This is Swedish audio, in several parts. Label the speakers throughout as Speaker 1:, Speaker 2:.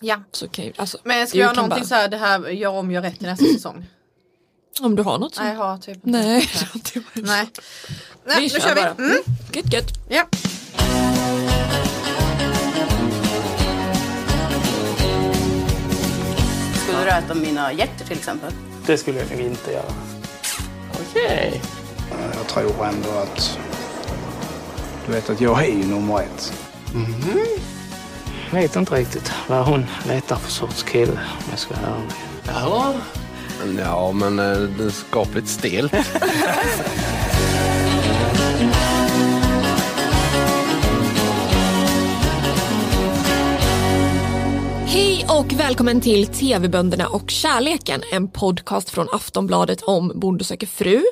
Speaker 1: Ja.
Speaker 2: Så kan ju, alltså,
Speaker 1: Men ska
Speaker 2: du
Speaker 1: jag ha
Speaker 2: kan
Speaker 1: någonting
Speaker 2: bara-
Speaker 1: så här, det här gör om, gör rätt i nästa säsong?
Speaker 2: Om du har något som...
Speaker 1: Nej, jag har typ inte.
Speaker 2: Nej.
Speaker 1: Nej. Nej, nu kör vi. Mm.
Speaker 2: Gött gött.
Speaker 1: Ja.
Speaker 3: Skulle du äta mina hjärtor till exempel?
Speaker 4: Det skulle jag nog inte göra.
Speaker 3: Okej.
Speaker 5: Jag tror ändå att... Du vet att jag är ju nummer ett.
Speaker 4: Jag vet inte riktigt vad hon letar för sorts kille om jag ska vara ärlig.
Speaker 6: Ja, men eh, det är skapligt stelt.
Speaker 2: Hej och välkommen till TV-bönderna och kärleken, en podcast från Aftonbladet om Bonde söker fru.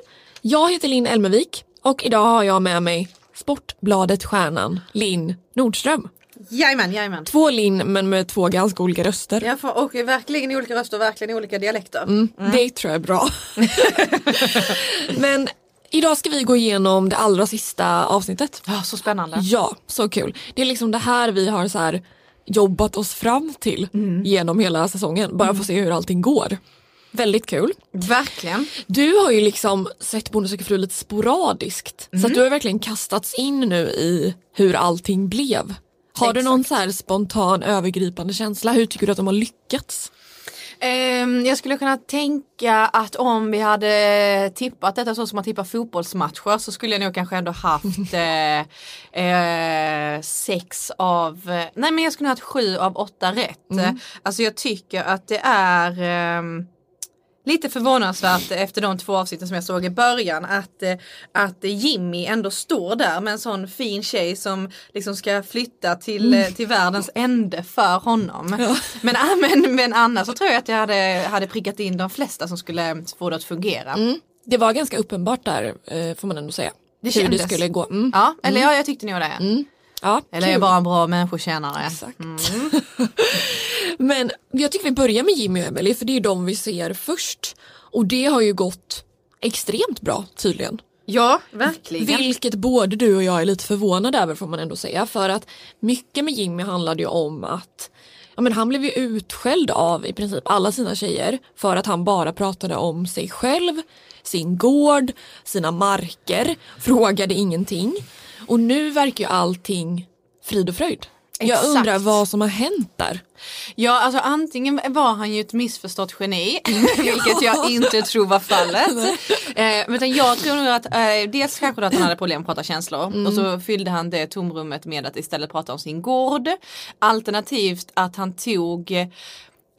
Speaker 2: Jag heter Linn Elmervik och idag har jag med mig Sportbladet-stjärnan Linn Nordström.
Speaker 1: Jajamän, jajamän.
Speaker 2: Två Linn men med två ganska olika röster.
Speaker 1: Ja, för, och verkligen i olika röster, verkligen i olika dialekter.
Speaker 2: Det tror jag är bra. men idag ska vi gå igenom det allra sista avsnittet.
Speaker 1: Ja, Ah, så spännande.
Speaker 2: Ja, så kul. Det är liksom det här vi har så här jobbat oss fram till
Speaker 1: Mm.
Speaker 2: genom hela säsongen. Bara för att se hur allting går. Väldigt kul.
Speaker 1: Verkligen.
Speaker 2: Du har ju liksom sett Bonde söker fru lite sporadiskt.
Speaker 1: Mm.
Speaker 2: Så att du har verkligen kastats in nu i hur allting blev. Har du någon så här spontan övergripande känsla? Hur tycker du att de har lyckats?
Speaker 1: Ehm, jag skulle kunna tänka att om vi hade tippat detta så som man tippar fotbollsmatcher så skulle jag nog kanske ändå haft eh, eh, sex av, eh, nej men jag skulle nog haft sju av åtta rätt. Alltså jag tycker att det är ehm, lite förvånansvärt efter de två avsnitten som jag såg i början att, eh, att Jimmy ändå står där med en sån fin tjej som liksom ska flytta till,
Speaker 2: Mm.
Speaker 1: eh, till världens ände för honom. Men, äh, men, men annars så tror jag att jag hade, hade prickat in de flesta som skulle få det att fungera.
Speaker 2: Det var ganska uppenbart där eh, får man ändå säga.
Speaker 1: Det
Speaker 2: hur det
Speaker 1: kändes.
Speaker 2: skulle gå. Mm.
Speaker 1: Ja, eller ja, jag tyckte nog det.
Speaker 2: Ja,
Speaker 1: Eller är jag
Speaker 2: kul.
Speaker 1: bara en bra människotjänare?
Speaker 2: Exakt. Mm. Men jag tycker vi börjar med Jimmy och Emily för det är ju de vi ser först. Och det har ju gått extremt bra tydligen.
Speaker 1: Ja, verkligen.
Speaker 2: Vilket både du och jag är lite förvånade över får man ändå säga. För att mycket med Jimmy handlade ju om att ja, men han blev ju utskälld av i princip alla sina tjejer för att han bara pratade om sig själv, sin gård, sina marker, frågade ingenting. Och nu verkar ju allting frid och fröjd. Jag
Speaker 1: Exakt.
Speaker 2: undrar vad som har hänt där.
Speaker 1: Ja, alltså antingen var han ju ett missförstått geni, vilket jag inte tror var fallet. Eh, utan jag tror nog att eh, dels kanske då att han hade problem att prata känslor och så fyllde han det tomrummet med att istället prata om sin gård. Alternativt att han tog eh,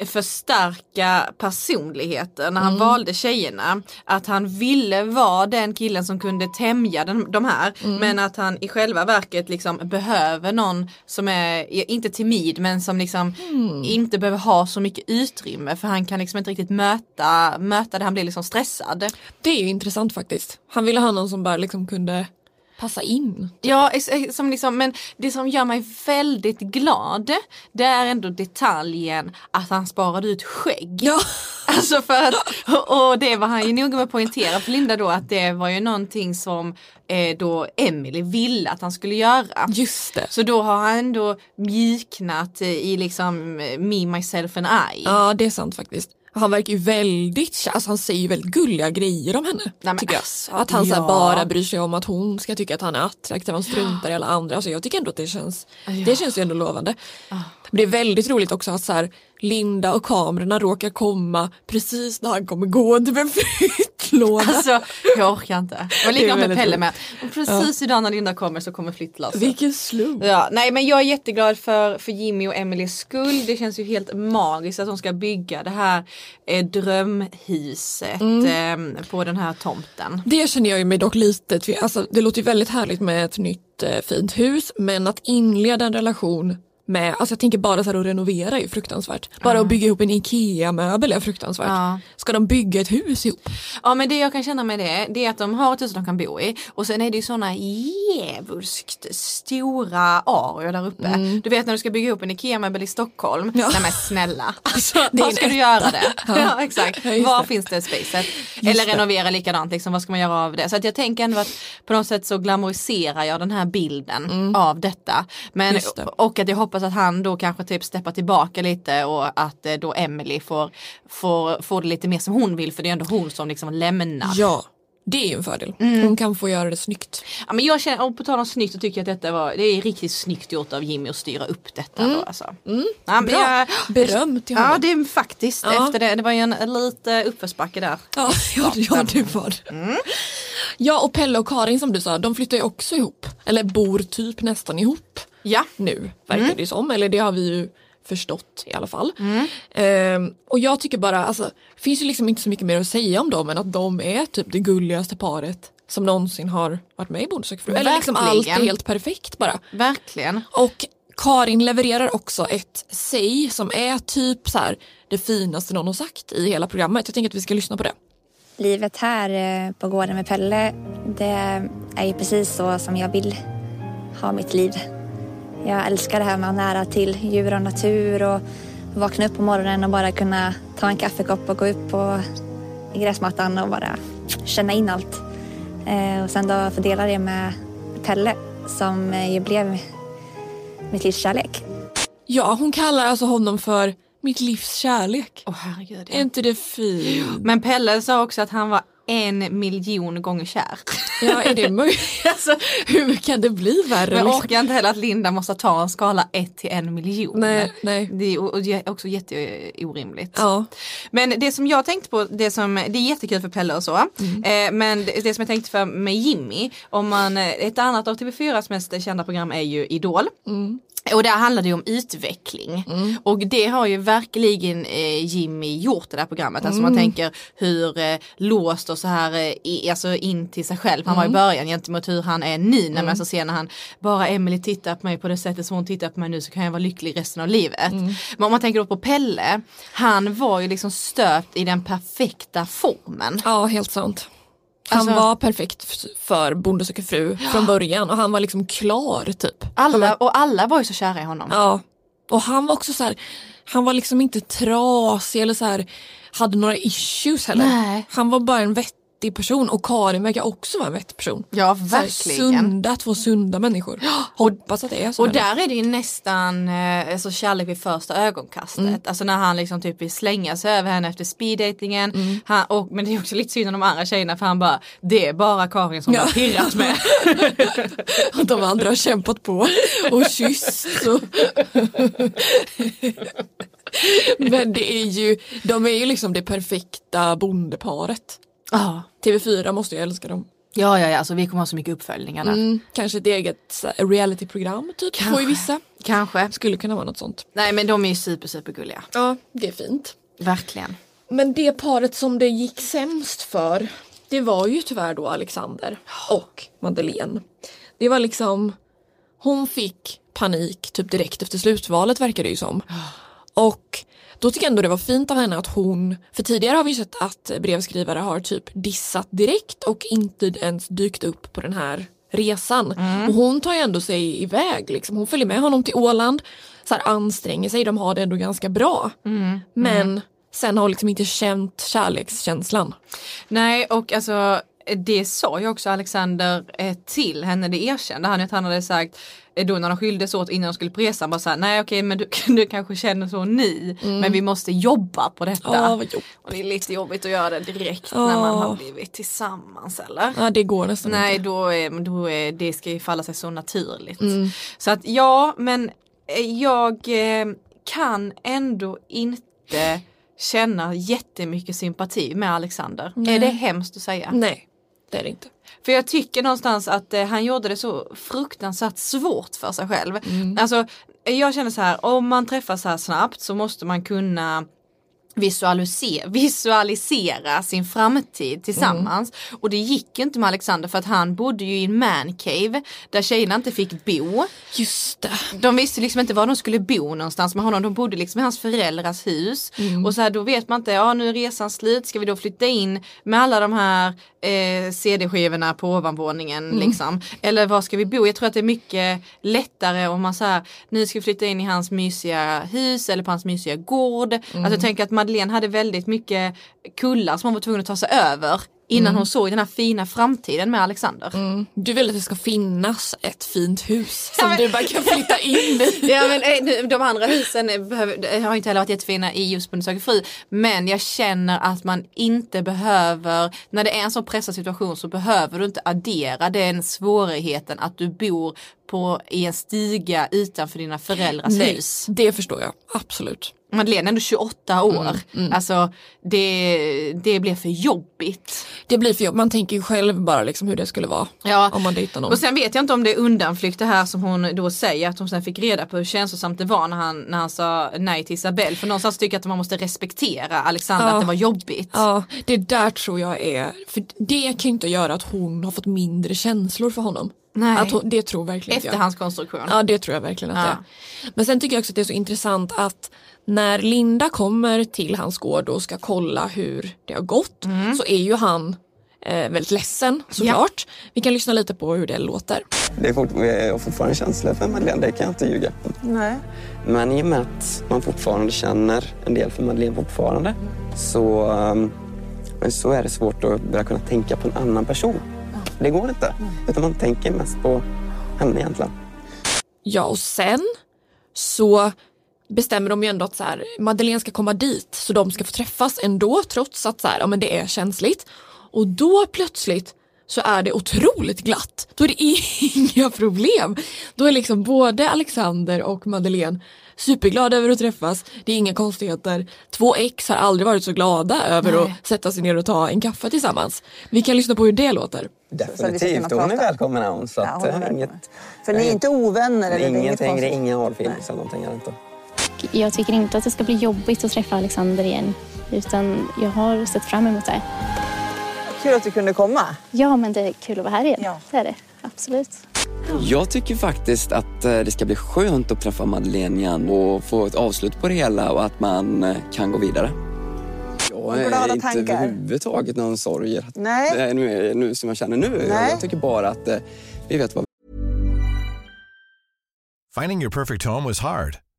Speaker 1: förstärka personligheten när han valde tjejerna. Att han ville vara den killen som kunde tämja den, de här men att han i själva verket liksom behöver någon som är, inte timid men som liksom inte behöver ha så mycket utrymme för han kan liksom inte riktigt möta, möta det, han blir liksom stressad.
Speaker 2: Det är ju intressant faktiskt. Han ville ha någon som bara liksom kunde passa in.
Speaker 1: Ja, ex- ex- som liksom, men det som gör mig väldigt glad det är ändå detaljen att han sparade ut skägg.
Speaker 2: Ja.
Speaker 1: Alltså för att, och och det var han ju noga med att poängtera för Linda då att det var ju någonting som eh, då Emily ville att han skulle göra.
Speaker 2: Just det.
Speaker 1: Så då har han ändå mjuknat eh, i liksom eh, me, myself and I.
Speaker 2: Ja det är sant faktiskt. Han verkar ju väldigt, kär- alltså han säger ju väldigt gulliga grejer om henne.
Speaker 1: men
Speaker 2: tycker jag.
Speaker 1: alltså,
Speaker 2: Att han så här
Speaker 1: ja.
Speaker 2: bara bryr sig om att hon ska tycka att han är attraktiv, han struntar i alla andra. Alltså jag tycker ändå att det känns, det känns ju ändå lovande. Men det är väldigt roligt också att så här, Linda och kamerorna råkar komma precis när han kommer gående med en flyttlåda.
Speaker 1: Alltså jag orkar inte. Det var
Speaker 2: Det är
Speaker 1: likadant med
Speaker 2: väldigt
Speaker 1: Pelle med. Och precis idag när Linda kommer så kommer flyttlasset.
Speaker 2: Vilken slump.
Speaker 1: Ja, nej men jag är jätteglad för, för Jimmy och Emelies skull. Det känns ju helt magiskt att de ska bygga det här eh, drömhuset eh, på den här tomten.
Speaker 2: Det känner jag ju mig dock lite, tve- alltså, det låter ju väldigt härligt med ett nytt eh, fint hus men att inleda en relation med, alltså jag tänker bara så här att renovera är ju fruktansvärt. Bara att bygga ihop en IKEA-möbel är fruktansvärt.
Speaker 1: Ja.
Speaker 2: Ska de bygga ett hus ihop?
Speaker 1: Ja men det jag kan känna med det, det är att de har ett hus de kan bo i och sen är det ju sådana djävulskt stora arior där uppe.
Speaker 2: Mm.
Speaker 1: Du vet när du ska bygga upp en IKEA-möbel i Stockholm, nej men snälla.
Speaker 2: Alltså, det är
Speaker 1: Var
Speaker 2: en
Speaker 1: ska du
Speaker 2: etta.
Speaker 1: göra det? Ja, exakt.
Speaker 2: Ja, just
Speaker 1: Var
Speaker 2: det.
Speaker 1: finns det spacet? Eller
Speaker 2: det.
Speaker 1: renovera likadant, liksom, vad ska man göra av det? Så att jag tänker ändå att på något sätt så glamoriserar jag den här bilden av detta. Men,
Speaker 2: Mm. Just det.
Speaker 1: och att jag hoppas hoppas att han då kanske typ steppar tillbaka lite och att eh, då Emily får, får, får det lite mer som hon vill för det är ändå hon som liksom lämnar.
Speaker 2: Ja, det är ju en fördel. Hon kan få göra det snyggt.
Speaker 1: Ja, men jag känner, och på tal om snyggt så tycker jag att detta var, det är riktigt snyggt gjort av Jimmy att styra upp detta då alltså. Ja, men
Speaker 2: Mm. Bra.
Speaker 1: jag-
Speaker 2: Beröm till
Speaker 1: Ja
Speaker 2: honom.
Speaker 1: det är faktiskt
Speaker 2: Ja.
Speaker 1: efter det, det var ju en lite uppförsbacke där.
Speaker 2: Ja, ja, ja du var det. Ja, och Pelle och Karin som du sa, de flyttar ju också ihop. Eller bor typ nästan ihop
Speaker 1: Ja,
Speaker 2: nu, verkar det ju som. Eller det har vi ju förstått i alla fall. Ehm, och jag tycker bara, alltså, det finns ju liksom inte så mycket mer att säga om dem än att de är typ det gulligaste paret som någonsin har varit med i Bonde söker fru. Eller liksom allt
Speaker 1: Verkligen.
Speaker 2: är helt perfekt bara.
Speaker 1: verkligen.
Speaker 2: Och Karin levererar också ett säg som är typ så här det finaste någon har sagt i hela programmet. Jag tänker att vi ska lyssna på det.
Speaker 7: Livet här eh, på gården med Pelle, det är ju precis så som jag vill ha mitt liv. Jag älskar det här med att ha nära till djur och natur och vakna upp på morgonen och bara kunna ta en kaffekopp och gå upp på gräsmattan och bara känna in allt. Eh, Och sen då fördela det med Pelle som eh, ju blev mitt livs kärlek.
Speaker 2: Ja, hon kallar alltså honom för mitt livs kärlek.
Speaker 1: Åh herregud.
Speaker 2: Är inte det fint?
Speaker 1: Men Pelle sa också att han var en miljon gånger kär.
Speaker 2: Ja, är det möjligt? Alltså, hur kan det bli värre?
Speaker 1: Men jag
Speaker 2: liksom?
Speaker 1: orkar inte heller att Linda måste ta en skala 1 till 1 miljon.
Speaker 2: Nej, nej.
Speaker 1: Det är o- och det är också jätteorimligt.
Speaker 2: Ja.
Speaker 1: Men det som jag tänkte på, det, som, det är jättekul för Pelle och så.
Speaker 2: Mm.
Speaker 1: Eh, men det, det som jag tänkte för med Jimmy, om man, eh, ett annat av TV4s mest kända program är ju Idol.
Speaker 2: Mm.
Speaker 1: Och där handlar det ju om utveckling. Och det har ju verkligen eh, Jimmy gjort det där programmet. Alltså man tänker hur eh, låst och så här eh, i, alltså in till sig själv han var i början gentemot hur han är nu. När man så ser när han bara Emily tittar på mig på det sättet som hon tittar på mig nu så kan jag vara lycklig resten av livet. Men om man tänker då på Pelle, han var ju liksom stöpt i den perfekta formen.
Speaker 2: ja, helt sant. Han
Speaker 1: Alltså-
Speaker 2: var perfekt f- för Bonde söker fru från början och han var liksom klar typ.
Speaker 1: Alla, och alla var ju så kära i honom.
Speaker 2: Ja. Och han var också så här, han var liksom inte trasig eller så här, hade några issues heller.
Speaker 1: Nej.
Speaker 2: Han var bara en vettig person och Karin verkar också vara en vettig person.
Speaker 1: Ja,
Speaker 2: Så här,
Speaker 1: verkligen.
Speaker 2: sunda, två sunda människor. Hoppas att det är så.
Speaker 1: Och
Speaker 2: här.
Speaker 1: där är det ju nästan eh, alltså kärlek vid första ögonkastet. Alltså när han liksom typ vill slänga sig över henne efter speeddatingen. Han- och- Men det är också lite synd om de andra tjejerna för han bara det är bara Karin som
Speaker 2: Ja.
Speaker 1: har pirrat med.
Speaker 2: Och de andra har kämpat på och kysst. Och... Men det är ju, de är ju liksom det perfekta bondeparet.
Speaker 1: Ja,
Speaker 2: TV4 måste ju älska dem.
Speaker 1: ja, ja, alltså vi kommer ha så mycket uppföljningar där.
Speaker 2: Mm, kanske ett eget så här, realityprogram typ, får ju vissa.
Speaker 1: Kanske.
Speaker 2: Skulle kunna vara något sånt.
Speaker 1: Nej men de är ju super super gulliga.
Speaker 2: Ja, det är fint.
Speaker 1: Verkligen.
Speaker 2: Men det paret som det gick sämst för det var ju tyvärr då Alexander och Madeleine. Det var liksom, hon fick panik typ direkt efter slutvalet verkar det ju som. Och då tycker jag ändå det var fint av henne att hon, för tidigare har vi ju sett att brevskrivare har typ dissat direkt och inte ens dykt upp på den här resan. Och hon tar ju ändå sig iväg liksom, hon följer med honom till Åland, så här anstränger sig, de har det ändå ganska bra. Men sen har hon liksom inte känt kärlekskänslan.
Speaker 1: Nej och alltså det sa ju också Alexander eh, till henne, det erkände han att han hade sagt eh, då när de skildes åt innan de skulle på resan bara såhär nej okej men du, du kanske känner så nu men vi måste jobba på detta.
Speaker 2: Ja, Mm. vad jobbigt.
Speaker 1: och det är lite jobbigt att göra det direkt
Speaker 2: Ja.
Speaker 1: när man har blivit tillsammans eller?
Speaker 2: Ja, det går nästan
Speaker 1: Nej
Speaker 2: inte. Mm.
Speaker 1: då, är, då är, det ska ju falla sig så naturligt. Så att ja men eh, jag eh, kan ändå inte känna jättemycket sympati med Alexander. Är det hemskt att säga?
Speaker 2: Nej, det är det inte.
Speaker 1: För jag tycker någonstans att eh, han gjorde det så fruktansvärt svårt för sig själv. Alltså, jag känner så här, om man träffas så här snabbt så måste man kunna visualisera, visualisera sin framtid tillsammans. Och det gick ju inte med Alexander för att han bodde ju i en mancave där tjejerna inte fick bo.
Speaker 2: Just det.
Speaker 1: De visste liksom inte var de skulle bo någonstans med honom. De bodde liksom i hans föräldrars hus. Och så här, då vet man inte, ja nu är resan slut, ska vi då flytta in med alla de här eh, CD-skivorna på ovanvåningen liksom? Eller var ska vi bo? Jag tror att det är mycket lättare om man så här, nu ska vi flytta in i hans mysiga hus eller på hans mysiga gård. Alltså jag tänker att Madeleine hade väldigt mycket kullar som hon var tvungen att ta sig över innan hon såg den här fina framtiden med Alexander.
Speaker 2: Du vill att det ska finnas ett fint hus som du bara kan flytta in i.
Speaker 1: Ja, men, eh, nu, de andra husen eh, behöver, eh, har inte heller varit jättefina i just Bonde söker fru. Men jag känner att man inte behöver, när det är en sån pressad situation så behöver du inte addera den svårigheten att du bor på, i en stiga utanför dina föräldrars hus.
Speaker 2: Alltså, det förstår jag. Absolut.
Speaker 1: Madeleine är ändå 28 år. Alltså det, det blir för jobbigt.
Speaker 2: Det blir för jobb. Man tänker ju själv bara liksom hur det skulle vara
Speaker 1: Ja.
Speaker 2: om man dejtar någon.
Speaker 1: Och sen vet jag inte om det är undanflykt det här som hon då säger att hon sen fick reda på hur känslosamt det var när han, när han sa nej till Isabelle. För någonstans tycker jag att man måste respektera Alexander
Speaker 2: Ja.
Speaker 1: att det var jobbigt.
Speaker 2: Ja, det där tror jag är, för det kan ju inte göra att hon har fått mindre känslor för honom.
Speaker 1: Nej.
Speaker 2: Att hon, det tror verkligen inte jag.
Speaker 1: Efterhandskonstruktion.
Speaker 2: Ja det tror jag verkligen att det är. Men sen tycker jag också att det är så intressant att när Linda kommer till hans gård och ska kolla hur det har gått
Speaker 1: Mm.
Speaker 2: så är ju han eh, väldigt ledsen såklart. Vi kan lyssna lite på hur det låter.
Speaker 8: Det är fort, jag har fortfarande känslor för Madeleine, det kan jag inte ljuga på. Nej. Men i och med att man fortfarande känner en del för Madeleine fortfarande så, um, så är det svårt att börja kunna tänka på en annan person. Det går inte.
Speaker 9: Mm.
Speaker 8: Utan man tänker mest på henne egentligen.
Speaker 2: Ja och sen så bestämmer de ju ändå att så här, Madeleine ska komma dit så de ska få träffas ändå trots att så här, ja, men det är känsligt. Och då plötsligt så är det otroligt glatt. Då är det inga problem. Då är liksom både Alexander och Madeleine superglada över att träffas. Det är inga konstigheter. Två ex har aldrig varit så glada över att sätta sig ner och ta en kaffe tillsammans. Vi kan lyssna på hur det låter.
Speaker 8: Definitivt. Hon är välkommen är hon. Så att, eh, inget,
Speaker 9: För ni är inte ovänner? eller det är inget
Speaker 8: ingenting, det är
Speaker 9: konstigt?
Speaker 8: inga hårfills eller någonting. är det inte.
Speaker 10: Jag tycker inte att det ska bli jobbigt att träffa Alexander igen. Utan jag har sett fram emot det.
Speaker 9: Kul att du kunde komma.
Speaker 10: Ja, men det är kul att vara här igen.
Speaker 9: Ja.
Speaker 10: Det är det. Absolut.
Speaker 8: Jag tycker faktiskt att eh, det ska bli skönt att träffa Madeleine igen och få ett avslut på det hela och att man eh, kan gå vidare. Jag
Speaker 9: Glada
Speaker 8: är inte
Speaker 9: tankar.
Speaker 8: överhuvudtaget någon sorg
Speaker 9: Nej.
Speaker 8: eh, nu, nu som jag känner nu.
Speaker 9: Nej.
Speaker 8: Jag tycker bara att eh, vi vet vad
Speaker 11: Finding your perfect home was hard,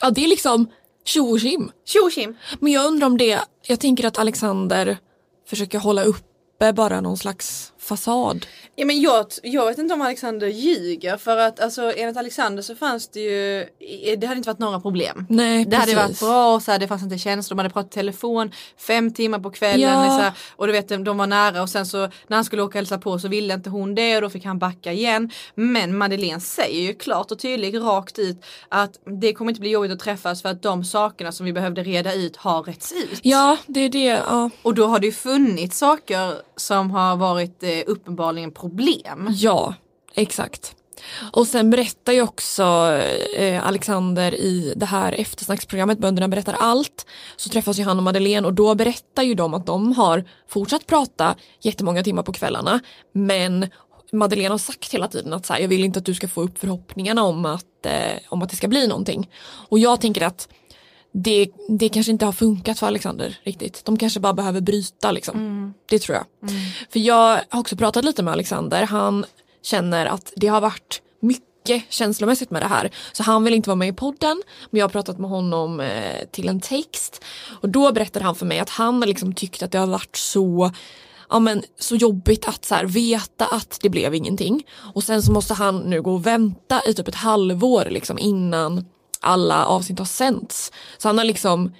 Speaker 2: Ja, det är liksom tjo och tjim.
Speaker 1: Tjo och tjim.
Speaker 2: Men jag undrar om det, jag tänker att Alexander försöker hålla uppe bara någon slags fasad.
Speaker 1: Ja, men jag, jag vet inte om Alexander ljuger för att alltså, enligt Alexander så fanns det ju, det hade inte varit några problem.
Speaker 2: Nej,
Speaker 1: det hade varit
Speaker 2: precis.
Speaker 1: bra, så här, det fanns inte känslor, de hade pratat i telefon fem timmar på kvällen
Speaker 2: Ja.
Speaker 1: så här, och du vet de var nära och sen så när han skulle åka och hälsa på så ville inte hon det och då fick han backa igen. Men Madeleine säger ju klart och tydligt rakt ut att det kommer inte bli jobbigt att träffas för att de sakerna som vi behövde reda ut har retts ut.
Speaker 2: Ja, det är det. Ja,
Speaker 1: Och då har det ju funnits saker som har varit eh, uppenbarligen problem.
Speaker 2: ja exakt. Och sen berättar ju också eh, Alexander i det här eftersnacksprogrammet Bönderna berättar allt så träffas ju han och Madeleine och då berättar ju de att de har fortsatt prata jättemånga timmar på kvällarna men Madeleine har sagt hela tiden att så här, jag vill inte att du ska få upp förhoppningarna om att, eh, om att det ska bli någonting. Och jag tänker att det, det kanske inte har funkat för Alexander riktigt. De kanske bara behöver bryta liksom. Det tror jag. För jag har också pratat lite med Alexander. Han känner att det har varit mycket känslomässigt med det här. Så han vill inte vara med i podden. Men jag har pratat med honom eh, till en text. Och då berättar han för mig att han har liksom tyckt att det har varit så ja, men, så jobbigt att så här, veta att det blev ingenting. Och sen så måste han nu gå och vänta i typ ett halvår liksom, innan alla avsnitt har sänts. Så han har liksom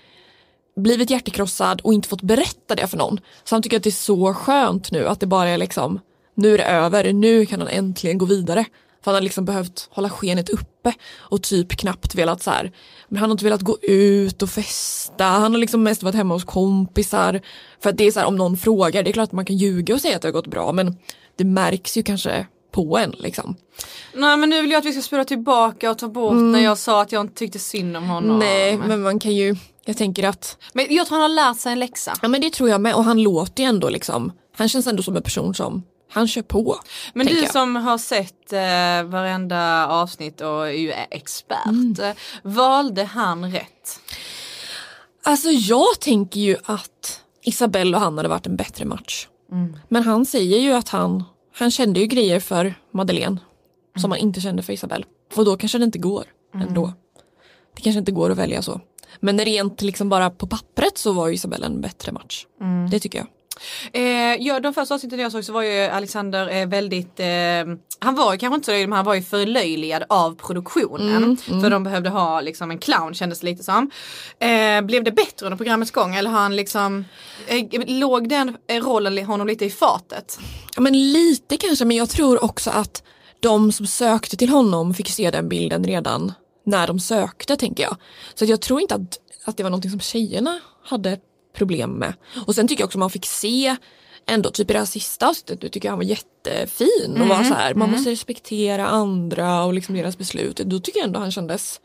Speaker 2: blivit hjärtekrossad och inte fått berätta det för någon. Så han tycker att det är så skönt nu att det bara är liksom nu är det över, nu kan han äntligen gå vidare. För han har liksom behövt hålla skenet uppe och typ knappt velat så här. Men han har inte velat gå ut och festa, han har liksom mest varit hemma hos kompisar. För att det är så här om någon frågar, det är klart att man kan ljuga och säga att det har gått bra men det märks ju kanske på en liksom.
Speaker 1: Nej men nu vill jag att vi ska spola tillbaka och ta bort när jag sa att jag inte tyckte synd om honom.
Speaker 2: Mm. Nej men man kan ju, jag tänker att
Speaker 1: Men jag tror han har lärt sig en läxa.
Speaker 2: Ja men det tror jag med och han låter ju ändå liksom Han känns ändå som en person som han kör på.
Speaker 1: Men du
Speaker 2: tänker jag.
Speaker 1: som har sett eh, varenda avsnitt och är ju är expert. eh, Valde han rätt?
Speaker 2: Alltså jag tänker ju att Isabelle och han hade varit en bättre match.
Speaker 1: Mm.
Speaker 2: Men han säger ju att han, han kände ju grejer för Madeleine som
Speaker 1: Mm.
Speaker 2: han inte kände för Isabelle. Och då kanske det inte går ändå. Det kanske inte går att välja så. Men rent liksom bara på pappret så var ju Isabelle en bättre match.
Speaker 1: Mm.
Speaker 2: Det tycker jag.
Speaker 1: Eh, ja, de första avsnitten jag såg så var ju Alexander eh, väldigt, eh, han var ju kanske inte så löjlig men han var ju förlöjligad av produktionen.
Speaker 2: Mm,
Speaker 1: För de behövde ha liksom en clown kändes det lite som. Eh, blev det bättre under programmets gång eller har han liksom, eh, låg den eh, rollen li- honom lite i fatet?
Speaker 2: Ja, men lite kanske, men jag tror också att de som sökte till honom fick se den bilden redan när de sökte, tänker jag. Så att jag tror inte att, att det var någonting som tjejerna hade problem med. Och sen tycker jag också man fick se ändå, typ i det här sista avsnittet, du tycker jag han var jättefin och
Speaker 1: Mm,
Speaker 2: var så här, man
Speaker 1: mm.
Speaker 2: måste respektera andra och liksom deras beslut. Då tycker jag ändå han kändes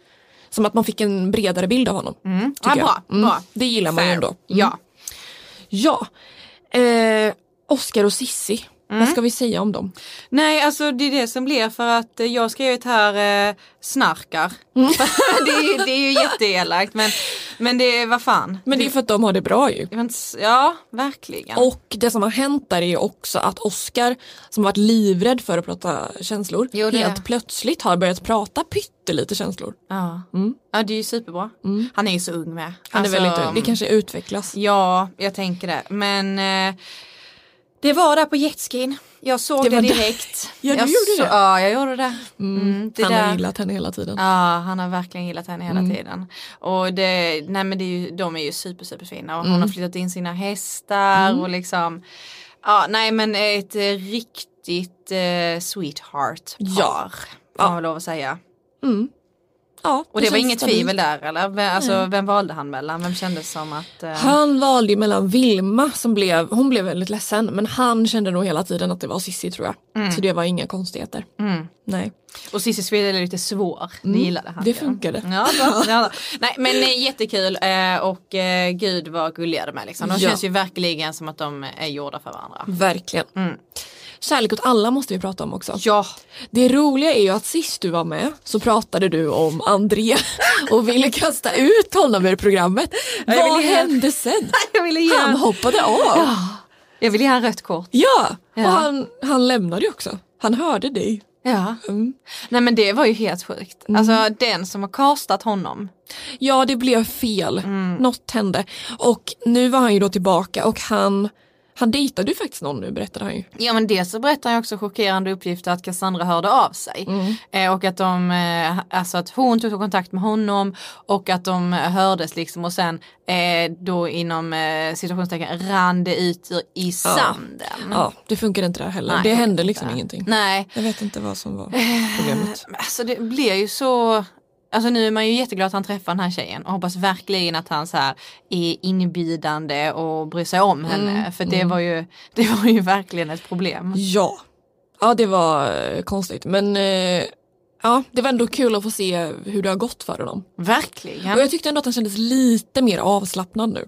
Speaker 2: som att man fick en bredare bild av honom.
Speaker 1: Mm.
Speaker 2: tycker
Speaker 1: Ja,
Speaker 2: jag.
Speaker 1: bra,
Speaker 2: Mm.
Speaker 1: bra.
Speaker 2: Det gillar man ju
Speaker 1: Fair.
Speaker 2: ändå. Mm.
Speaker 1: Ja.
Speaker 2: Ja. Eh, Oscar och Sissi. Vad
Speaker 1: Mm.
Speaker 2: ska vi säga om dem?
Speaker 1: Nej, alltså det är det som blir för att eh, jag har skrivit här eh, snarkar.
Speaker 2: Mm.
Speaker 1: det, är, det är ju jätteelakt men, men det är vad fan.
Speaker 2: Men det är för att de har det bra ju.
Speaker 1: Det var inte s- Ja, verkligen.
Speaker 2: Och det som har hänt där är ju också att Oscar som varit livrädd för att prata känslor
Speaker 1: Jo, det är.
Speaker 2: helt plötsligt har börjat prata pyttelite känslor.
Speaker 1: Ja.
Speaker 2: Mm.
Speaker 1: ja, det är ju superbra. Han är ju så ung med.
Speaker 2: Han är
Speaker 1: Alltså,
Speaker 2: väldigt ung. Det kanske utvecklas.
Speaker 1: Ja, jag tänker det. Men eh, det var där på jetskin. Jag såg
Speaker 2: Det
Speaker 1: det,
Speaker 2: var där.
Speaker 1: direkt.
Speaker 2: Ja, du
Speaker 1: jag
Speaker 2: gjorde det.
Speaker 1: Ja, jag gjorde det.
Speaker 2: Mm.
Speaker 1: Mm, det
Speaker 2: han
Speaker 1: där.
Speaker 2: har gillat henne hela tiden.
Speaker 1: Ja, han har verkligen gillat henne hela
Speaker 2: Mm.
Speaker 1: tiden. Och det, nej men det är ju, de är ju super, superfina och hon
Speaker 2: Mm.
Speaker 1: har flyttat in sina hästar och liksom. Ja, nej men ett eh, riktigt eh, sweetheart par.
Speaker 2: Ja.
Speaker 1: Får man väl lov att säga.
Speaker 2: Mm. Ja,
Speaker 1: Och det var
Speaker 2: känns
Speaker 1: inget
Speaker 2: stabilt.
Speaker 1: tvivel där eller? Vem, alltså,
Speaker 2: Nej.
Speaker 1: vem valde han mellan? Vem kändes som att... eh,
Speaker 2: Han valde ju mellan Vilma som blev, hon blev väldigt ledsen men han kände nog hela tiden att det var Sissi tror jag.
Speaker 1: Mm.
Speaker 2: Så det var inga konstigheter.
Speaker 1: Mm.
Speaker 2: Nej.
Speaker 1: Och Cissi Sweden är lite svår.
Speaker 2: Mm,
Speaker 1: Ni gillade han
Speaker 2: det
Speaker 1: ju.
Speaker 2: funkade.
Speaker 1: Ja, bra. Ja, bra. Nej men eh, jättekul eh, och eh, gud vad gulliga de är liksom. De
Speaker 2: Ja.
Speaker 1: känns ju verkligen som att de är gjorda för varandra.
Speaker 2: Verkligen.
Speaker 1: Mm.
Speaker 2: Kärlek åt alla måste vi prata om också.
Speaker 1: Ja,
Speaker 2: Det roliga är ju att sist du var med så pratade du om André och ville kasta ut honom ur programmet.
Speaker 1: Ja, jag
Speaker 2: Vad
Speaker 1: ville ge-
Speaker 2: hände sen?
Speaker 1: jag ville ge
Speaker 2: Han
Speaker 1: han,
Speaker 2: hoppade av.
Speaker 1: jag ville ge han rött kort.
Speaker 2: Ja, och
Speaker 1: Ja.
Speaker 2: han, han lämnade ju också. Han hörde dig.
Speaker 1: Ja.
Speaker 2: Mm.
Speaker 1: Nej men det var ju helt sjukt. Alltså den som har kastat honom.
Speaker 2: Ja, det blev fel.
Speaker 1: Mm.
Speaker 2: Något hände. Och nu var han ju då tillbaka och han, han dejtade ju faktiskt någon nu berättade han ju.
Speaker 1: Ja men dels så berättar jag också chockerande uppgifter att Cassandra hörde av sig. Eh, och att, de, eh, alltså att hon tog kontakt med honom och att de hördes liksom och sen eh, då inom eh, situationstecken rann det ut i- i sanden.
Speaker 2: Ja, det funkade inte där heller.
Speaker 1: Nej,
Speaker 2: det
Speaker 1: jag
Speaker 2: hände
Speaker 1: vet
Speaker 2: liksom
Speaker 1: inte.
Speaker 2: ingenting.
Speaker 1: Nej,
Speaker 2: Jag vet inte vad som var problemet.
Speaker 1: Men Alltså det blir ju så Alltså nu är man ju jätteglad att han träffar den här tjejen och hoppas verkligen att han så här är inbjudande och bryr sig om henne.
Speaker 2: Mm,
Speaker 1: För det,
Speaker 2: mm.
Speaker 1: var ju, det var ju verkligen ett problem.
Speaker 2: Ja. Ja det var eh, konstigt men eh, ja det var ändå kul att få se hur det har gått för honom. Och
Speaker 1: Verkligen.
Speaker 2: jag tyckte ändå att han kändes lite mer avslappnad nu.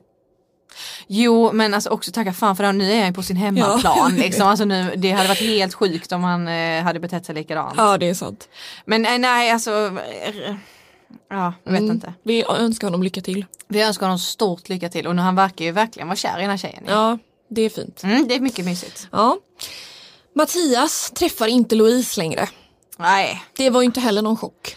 Speaker 1: Jo men alltså också tacka fan för det. Nu är han ju på sin hemmaplan.
Speaker 2: Ja.
Speaker 1: liksom. alltså nu, det hade varit helt sjukt om han eh, hade betett sig likadant.
Speaker 2: Ja det är sant.
Speaker 1: Men eh, nej alltså. eh, Ja, jag vet
Speaker 2: Mm.
Speaker 1: inte.
Speaker 2: Vi önskar honom lycka till.
Speaker 1: Vi önskar honom stort lycka till och nu han verkar ju verkligen vara kär i den här tjejen.
Speaker 2: Ja det är fint.
Speaker 1: Mm, det är mycket mysigt.
Speaker 2: Ja. Mattias träffar inte Louise längre.
Speaker 1: Nej.
Speaker 2: Det var ju inte heller någon chock.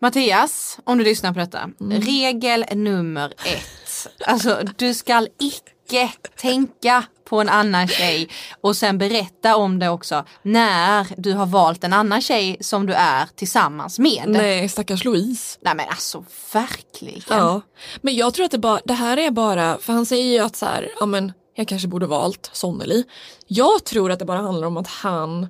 Speaker 1: Mattias, om du lyssnar på detta.
Speaker 2: Mm.
Speaker 1: Regel nummer ett. Alltså du ska icke tänka på en annan tjej och sen berätta om det också när du har valt en annan tjej som du är tillsammans med. Nej,
Speaker 2: Nej stackars Louise.
Speaker 1: men alltså verkligen.
Speaker 2: Ja. Men jag tror att det, bara, det här är bara, för han säger ju att så här, ja men jag kanske borde valt Sonneli. Jag tror att det bara handlar om att han,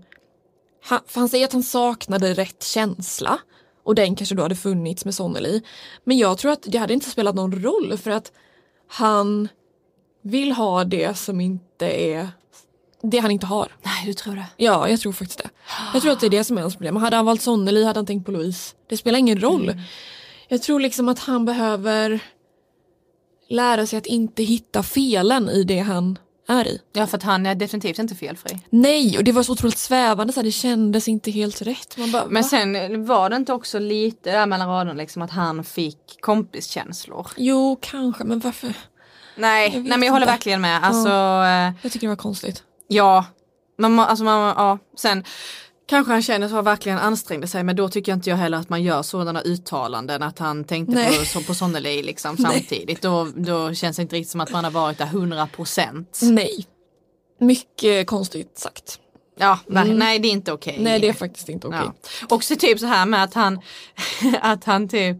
Speaker 2: han, för han säger att han saknade rätt känsla och den kanske då hade funnits med Sonneli. Men jag tror att det hade inte spelat någon roll för att han vill ha det som inte är det han inte har.
Speaker 1: Nej du tror det.
Speaker 2: Ja, jag tror faktiskt det. Jag tror att det är det som är hans problem. Hade han valt Sonneli hade han tänkt på Louise. Det spelar ingen roll.
Speaker 1: Mm.
Speaker 2: Jag tror liksom att han behöver lära sig att inte hitta felen i det han är i.
Speaker 1: Ja för att han är definitivt inte felfri.
Speaker 2: Nej, och det var så otroligt svävande, så här, det kändes inte helt rätt. Man bara,
Speaker 1: Men
Speaker 2: va?
Speaker 1: sen var det inte också lite där mellan raderna liksom att han fick kompiskänslor?
Speaker 2: Jo, kanske, men varför?
Speaker 1: Nej,
Speaker 2: Jag vet
Speaker 1: nej men jag håller
Speaker 2: inte.
Speaker 1: verkligen med. Alltså, eh,
Speaker 2: Jag tycker det var konstigt.
Speaker 1: ja. Man, må- alltså, man, ja. Sen kanske han känner så verkligen ansträngde sig men då tycker jag inte jag heller att man gör sådana uttalanden att han tänkte
Speaker 2: Nej.
Speaker 1: på, så, på Sonneli liksom
Speaker 2: Nej.
Speaker 1: samtidigt. Då, då känns det inte riktigt som att man har varit där 100 procent.
Speaker 2: Nej. Mycket konstigt sagt.
Speaker 1: Ja, ver-
Speaker 2: Mm.
Speaker 1: nej det är inte okej.
Speaker 2: Nej, det är faktiskt inte okej.
Speaker 1: Ja. Också typ så här med att han, att han typ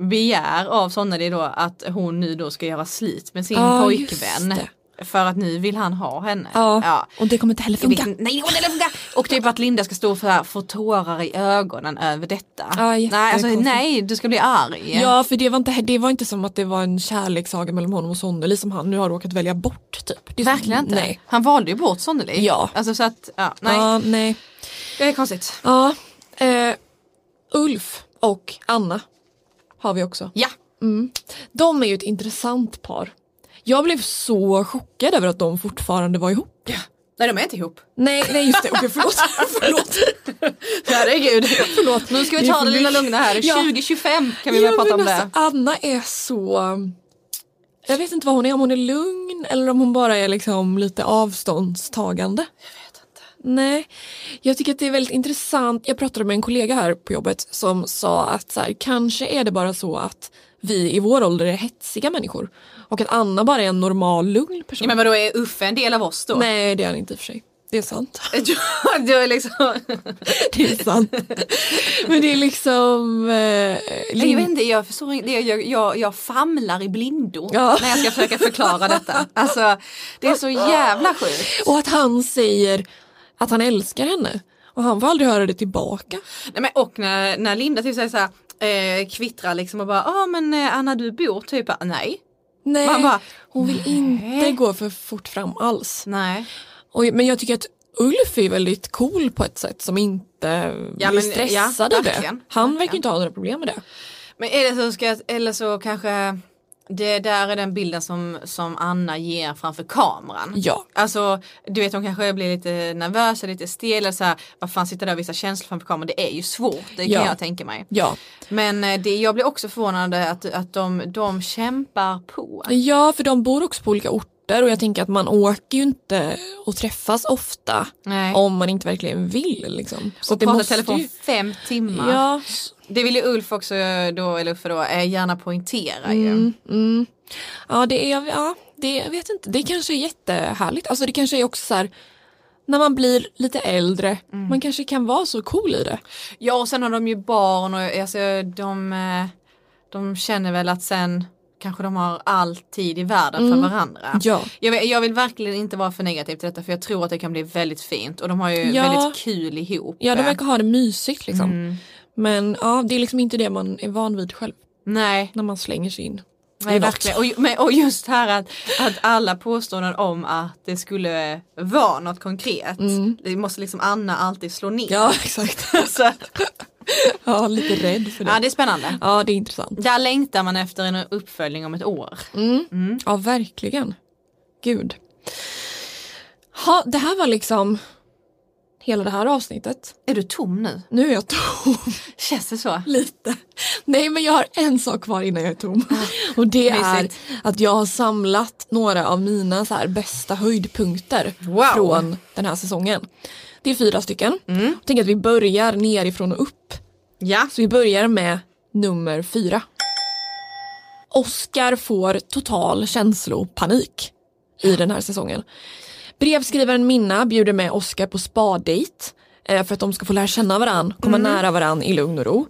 Speaker 1: begär av Sonneli då att hon nu då ska göra slit med sin
Speaker 2: Ja, just
Speaker 1: pojkvän.
Speaker 2: det.
Speaker 1: För att nu vill han ha henne.
Speaker 2: Ja. Och det kommer inte heller
Speaker 1: Jag vet
Speaker 2: funka.
Speaker 1: inte- Nej, det kommer inte funka. Och typ att Linda ska stå för här, få tårar i ögonen över detta.
Speaker 2: Ja,
Speaker 1: nej, alltså,
Speaker 2: jättekonstigt.
Speaker 1: nej, du ska bli arg.
Speaker 2: Ja, för det var, inte, det var inte som att det var en kärlekssaga mellan honom och Sonneli som han nu har råkat välja bort. Typ. Det är så-
Speaker 1: Verkligen inte.
Speaker 2: Nej.
Speaker 1: Han valde ju bort Sonneli.
Speaker 2: Ja.
Speaker 1: Alltså så att, ja, nej.
Speaker 2: Ja, nej.
Speaker 1: Det är konstigt.
Speaker 2: Ja, eh, Ulf och Anna har vi också.
Speaker 1: Ja.
Speaker 2: Mm. De är ju ett intressant par. Jag blev så chockad över att de fortfarande var ihop.
Speaker 1: Nej, de är inte ihop.
Speaker 2: Nej, nej just det, okej förlåt. förlåt.
Speaker 1: Herregud. Förlåt. Nu ska vi
Speaker 2: Det är
Speaker 1: ta
Speaker 2: för
Speaker 1: det lilla
Speaker 2: mycket.
Speaker 1: lugna här.
Speaker 2: Ja.
Speaker 1: 2025 kan vi börja
Speaker 2: Ja,
Speaker 1: prata
Speaker 2: men
Speaker 1: om det.
Speaker 2: alltså, Anna är så... Jag vet inte vad hon är, om hon är lugn eller om hon bara är liksom lite avståndstagande. Nej, jag tycker att det är väldigt intressant. Jag pratade med en kollega här på jobbet som sa att så här, kanske är det bara så att vi i vår ålder är hetsiga människor och att Anna bara är en normal lugn person.
Speaker 1: Ja, men vadå, är Uffe en del av oss då?
Speaker 2: Nej, det är han inte i och för sig. Det är sant.
Speaker 1: Ja, det är liksom...
Speaker 2: Det är sant. Men det är liksom... Eh,
Speaker 1: Jag vet inte, jag, förstår, inte- det- jag, jag, jag famlar i blindo
Speaker 2: Ja.
Speaker 1: när jag ska försöka förklara detta. Alltså, det är så jävla sjukt.
Speaker 2: Och att han säger att han älskar henne. Och han får aldrig höra det tillbaka.
Speaker 1: Nej, men, och när, när Linda typ säger så här, eh, kvittrar liksom och bara, ja ah, men eh, Anna du bor typ, här." nej,
Speaker 2: Nej,
Speaker 1: Man bara,
Speaker 2: hon vill inte gå för fort fram alls.
Speaker 1: nej.
Speaker 2: Och, men jag tycker att Ulf är väldigt cool på ett sätt som inte
Speaker 1: Ja,
Speaker 2: blir
Speaker 1: men-
Speaker 2: stressad
Speaker 1: ja,
Speaker 2: av det.
Speaker 1: verkligen,
Speaker 2: Han verkar
Speaker 1: verkligen.
Speaker 2: inte ha några problem med det.
Speaker 1: Men är det så ska, jag- eller så kanske det där är den bilden som, som Anna ger framför kameran.
Speaker 2: Ja.
Speaker 1: Alltså du vet hon kanske blir lite nervös eller lite stel eller så här, vad fan sitter där och visar känslor framför kameran, det är ju svårt, det kan
Speaker 2: Ja.
Speaker 1: jag tänka mig.
Speaker 2: Ja.
Speaker 1: Men eh, det, jag blir också förvånad att, att de, de kämpar på.
Speaker 2: ja, för de bor också på olika orter och jag tänker att man åker ju inte och träffas ofta
Speaker 1: Nej.
Speaker 2: om man inte verkligen vill. Liksom. Så
Speaker 1: och
Speaker 2: att det
Speaker 1: pratar
Speaker 2: måste
Speaker 1: telefon
Speaker 2: ju...
Speaker 1: fem timmar.
Speaker 2: Ja,
Speaker 1: Det vill ju Ulf också då, eller Uffe då, eh, gärna poängtera ju.
Speaker 2: Mm, mm. Ja, det är, ja, det jag vet inte, det kanske är jättehärligt. Alltså det kanske är också så här, när man blir lite äldre,
Speaker 1: Mm.
Speaker 2: man kanske kan vara så cool i det.
Speaker 1: Ja och sen har de ju barn och alltså, de, eh, de känner väl att sen kanske de har all tid i världen
Speaker 2: Mm.
Speaker 1: för varandra.
Speaker 2: Ja.
Speaker 1: Jag, vill, jag vill verkligen inte vara för negativ till detta för jag tror att det kan bli väldigt fint och de har ju
Speaker 2: Ja.
Speaker 1: väldigt kul ihop.
Speaker 2: Ja, de
Speaker 1: eh.
Speaker 2: verkar ha det mysigt liksom.
Speaker 1: Mm.
Speaker 2: Men ja, det är liksom inte det man är van vid själv,
Speaker 1: Nej,
Speaker 2: när man slänger sig in. i
Speaker 1: Nej,
Speaker 2: något.
Speaker 1: verkligen. Och, ju- men, och just här att, att alla påståenden om att det skulle vara något konkret. Det måste liksom Anna alltid slå ner.
Speaker 2: Mm. Ja, exakt.
Speaker 1: Så, att-
Speaker 2: Ja, lite rädd för det.
Speaker 1: ja, det Mm. är spännande.
Speaker 2: Ja, det är intressant.
Speaker 1: Där längtar man efter en uppföljning om ett år.
Speaker 2: Ja, verkligen. Gud. Ha, det här var liksom hela det här avsnittet.
Speaker 1: Är du tom nu?
Speaker 2: Nu är jag tom.
Speaker 1: Känns det så?
Speaker 2: Lite. Nej men jag har en sak kvar innan jag är tom. Och det är
Speaker 1: Ah, Mysigt.
Speaker 2: att jag har samlat några av mina så här bästa höjdpunkter
Speaker 1: Wow. Mm.
Speaker 2: från den här säsongen. Det är fyra stycken. Jag tänker att vi börjar nerifrån och upp.
Speaker 1: Ja.
Speaker 2: Så vi börjar med nummer fyra. Oscar får total känslopanik i den här säsongen. Brevskrivaren Minna bjuder med Oscar på spadejt eh, för att de ska få lära känna varandra, komma nära varandra i lugn och ro.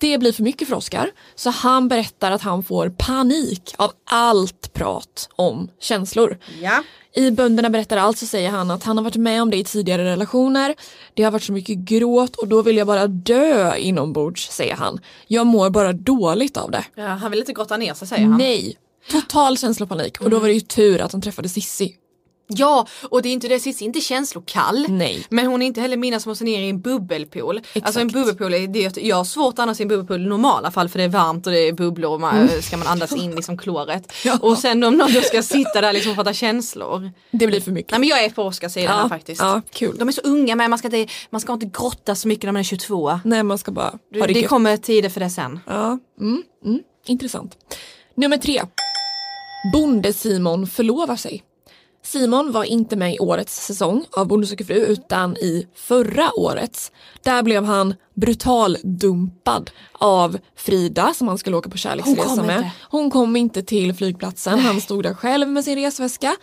Speaker 2: Det blir för mycket för Oscar så han berättar att han får panik av allt prat om känslor.
Speaker 1: Ja.
Speaker 2: I Bönderna berättar allt så säger han att han har varit med om det i tidigare relationer. Det har varit så mycket gråt och då vill jag bara dö inombords säger han. Jag mår bara dåligt av det.
Speaker 1: ja. Han vill inte grotta ner sig säger han.
Speaker 2: Nej, total känslopanik och då var det ju tur att han träffade Sissi.
Speaker 1: Ja, och det är inte det, Cissi är inte känslokall.
Speaker 2: Nej.
Speaker 1: Men hon är inte heller mina som måste ner i en bubbelpool. Alltså en bubbelpool, är det, jag har svårt annars i en bubbelpool i normala fall för det är varmt och det är bubblor och man, ska man andas in liksom kloret. Och sen om någon då ska sitta där liksom och prata känslor.
Speaker 2: Det blir för mycket.
Speaker 1: Nej men jag är på Oskars sida
Speaker 2: Ja,
Speaker 1: här faktiskt.
Speaker 2: ja, kul.
Speaker 1: De är så unga men man ska inte, man ska inte grotta så mycket när man är 22.
Speaker 2: Nej man ska bara
Speaker 1: Det,
Speaker 2: ha det,
Speaker 1: det
Speaker 2: gött.
Speaker 1: kommer tider för det sen.
Speaker 2: Ja, mm, mm, intressant. Nummer tre. Bonde-Simon förlovar sig. Simon var inte med i årets säsong av Bonde söker fru utan i förra årets. Där blev han brutaldumpad av Frida som han skulle åka på kärleksresa
Speaker 1: Hon kom
Speaker 2: med.
Speaker 1: inte.
Speaker 2: Hon kom inte till flygplatsen, han stod där själv med sin resväska.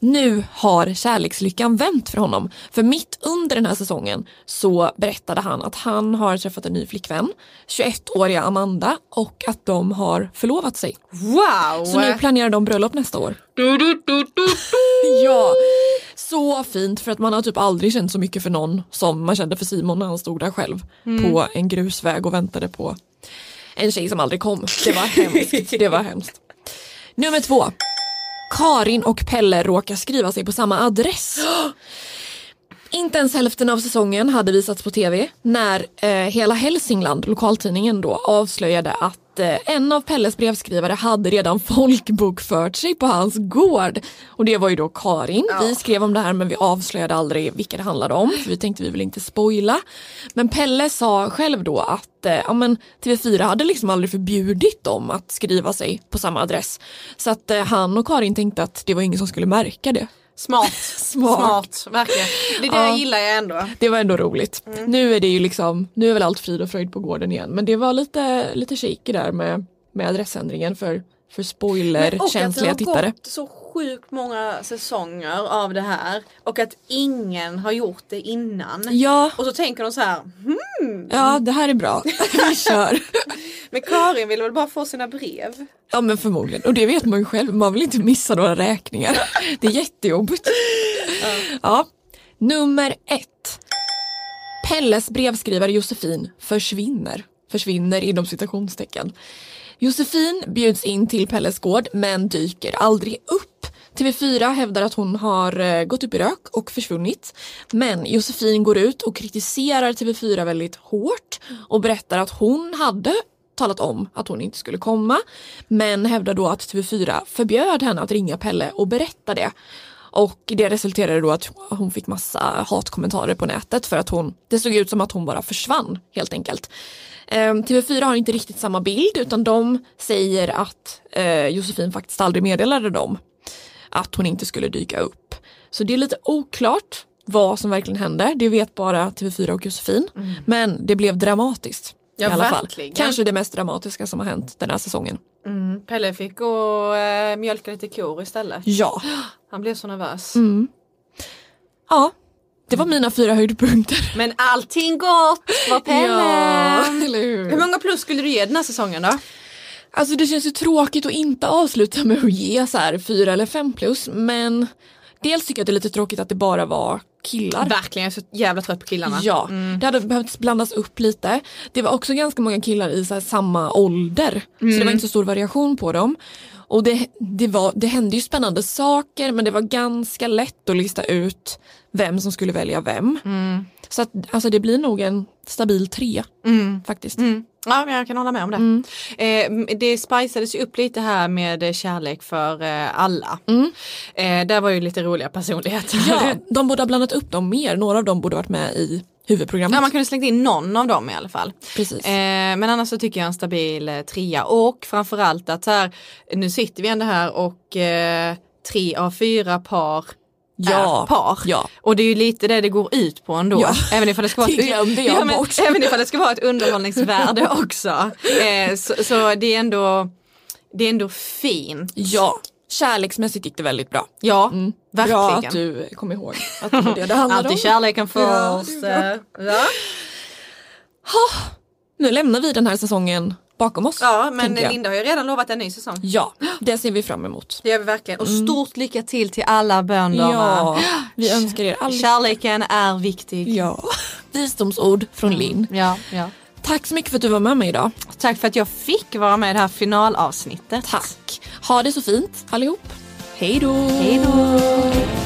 Speaker 2: Nu har kärlekslyckan vänt för honom. För mitt under den här säsongen så berättade han att han har träffat en ny flickvän, 21-åriga Amanda och att de har förlovat sig.
Speaker 1: Wow!
Speaker 2: Så nu planerar de bröllop nästa år.
Speaker 1: Du, du, du, du, du.
Speaker 2: Ja, så fint för att man har typ aldrig känt så mycket för någon som man kände för Simon när han stod där själv
Speaker 1: Mm.
Speaker 2: på en grusväg och väntade på en tjej som aldrig kom. Det var hemskt. Det var hemskt. Nummer två. Karin och Pelle råkar skriva sig på samma adress. Inte ens hälften av säsongen hade visats på tv när eh, Hela Hälsingland, lokaltidningen då, avslöjade att eh, en av Pelles brevskrivare hade redan folkbokfört sig på hans gård. Och det var ju då Karin. Vi skrev om det här men vi avslöjade aldrig vilka det handlade om för vi tänkte vi vill inte spoila. Men Pelle sa själv då att eh, ja, men TV4 hade liksom aldrig förbjudit dem att skriva sig på samma adress. Så att eh, han och Karin tänkte att det var ingen som skulle märka det.
Speaker 1: Smart.
Speaker 2: Smart.
Speaker 1: verkligen. Det är det
Speaker 2: Ja.
Speaker 1: jag gillar jag ändå.
Speaker 2: Det var ändå roligt. Nu är det ju liksom, nu är väl allt frid och fröjd på gården igen. Men det var lite, lite shaky där med, med adressändringen för, för spoilerkänsliga tittare.
Speaker 1: gått så sjukt många säsonger av det här och att ingen har gjort det innan.
Speaker 2: Ja,
Speaker 1: Och så tänker de så här, hmm,
Speaker 2: ja, det här är bra. Vi kör.
Speaker 1: men Karin ville väl bara få sina brev?
Speaker 2: Ja men förmodligen. Och det vet man ju själv, man vill inte missa några räkningar. Det är jättejobbigt. Ja. Nummer ett. Pelles brevskrivare Josefin försvinner. Försvinner inom citationstecken. Josefin bjuds in till Pelles gård men dyker aldrig upp. TV4 hävdar att hon har eh, gått upp i rök och försvunnit. Men Josefin går ut och kritiserar TV4 väldigt hårt och berättar att hon hade talat om att hon inte skulle komma men hävdar då att TV4 förbjöd henne att ringa Pelle och berätta det. Och det resulterade då att hon fick massa hatkommentarer på nätet för att hon, det såg ut som att hon bara försvann helt enkelt. Ehm, TV4 har inte riktigt samma bild utan de säger att eh, Josefin faktiskt aldrig meddelade dem att hon inte skulle dyka upp. Så det är lite oklart vad som verkligen hände. Det vet bara TV4 och Josefin. Men det blev dramatiskt.
Speaker 1: Ja,
Speaker 2: i alla fall.
Speaker 1: verkligen.
Speaker 2: Kanske det mest dramatiska som har hänt den här säsongen.
Speaker 1: Mm. Pelle fick gå och eh, mjölka lite kor istället.
Speaker 2: Ja.
Speaker 1: Han blev så nervös.
Speaker 2: Mm. Ja, det var mina fyra höjdpunkter.
Speaker 1: Men allting gott var Pelle!
Speaker 2: Ja, eller
Speaker 1: Hur
Speaker 2: hur?
Speaker 1: många plus skulle du ge den här säsongen då?
Speaker 2: Alltså det känns ju tråkigt att inte avsluta med att ge så här fyra eller fem plus men dels tycker jag att det är lite tråkigt att det bara var killar.
Speaker 1: Verkligen, jag är så jävla trött på killarna.
Speaker 2: Ja,
Speaker 1: Mm.
Speaker 2: det hade behövt blandas upp lite. Det var också ganska många killar i så här samma ålder. Så det
Speaker 1: Mm.
Speaker 2: var inte så stor variation på dem. Och det, det, var, det hände ju spännande saker men det var ganska lätt att lista ut vem som skulle välja vem.
Speaker 1: Mm.
Speaker 2: Så att, alltså det blir nog en stabil tre
Speaker 1: Mm.
Speaker 2: faktiskt.
Speaker 1: Mm. Ja, men jag kan hålla med om det.
Speaker 2: Mm.
Speaker 1: Eh, det spicades ju upp lite här med eh, kärlek för eh, alla.
Speaker 2: Mm.
Speaker 1: Eh, där var ju lite roliga personligheter.
Speaker 2: Ja, de borde ha blandat upp dem mer. Några av dem borde varit med i huvudprogrammet.
Speaker 1: Ja, man kunde slängt in någon av dem i alla fall.
Speaker 2: Precis.
Speaker 1: Eh, men annars så tycker jag en stabil eh, trea och framförallt att så här, nu sitter vi ändå här och eh, tre av fyra par
Speaker 2: ja.
Speaker 1: är par.
Speaker 2: Ja.
Speaker 1: Och det är ju lite det det går ut på ändå.
Speaker 2: Ja.
Speaker 1: Även, ifall det ska vara
Speaker 2: Det
Speaker 1: ett,
Speaker 2: glömde jag
Speaker 1: ja, men,
Speaker 2: bort.
Speaker 1: även ifall det ska vara ett underhållningsvärde också. Eh, så, så det är ändå det är ändå fint.
Speaker 2: ja. Kärleksmässigt gick det väldigt bra.
Speaker 1: Ja, verkligen.
Speaker 2: Mm. Bra att du kom ihåg att det var det det handlade om.
Speaker 1: Alltid kärleken
Speaker 2: Ja,
Speaker 1: först.
Speaker 2: det är
Speaker 1: eh, Ja,
Speaker 2: Nu lämnar vi den här säsongen bakom oss.
Speaker 1: ja men
Speaker 2: tänker jag.
Speaker 1: Linda har ju redan lovat en ny säsong.
Speaker 2: Ja, det ser vi fram emot.
Speaker 1: Det gör vi verkligen. Och stort lycka till till alla bönderna.
Speaker 2: Mm. Ja, vi önskar er all
Speaker 1: Kärleken är viktig.
Speaker 2: Ja. Visdomsord från Linn.
Speaker 1: Ja, ja.
Speaker 2: Tack så mycket för att du var med mig idag.
Speaker 1: Tack för att jag fick vara med i det här finalavsnittet.
Speaker 2: Tack. Ha det så fint allihop. Hej då.
Speaker 1: Hej då.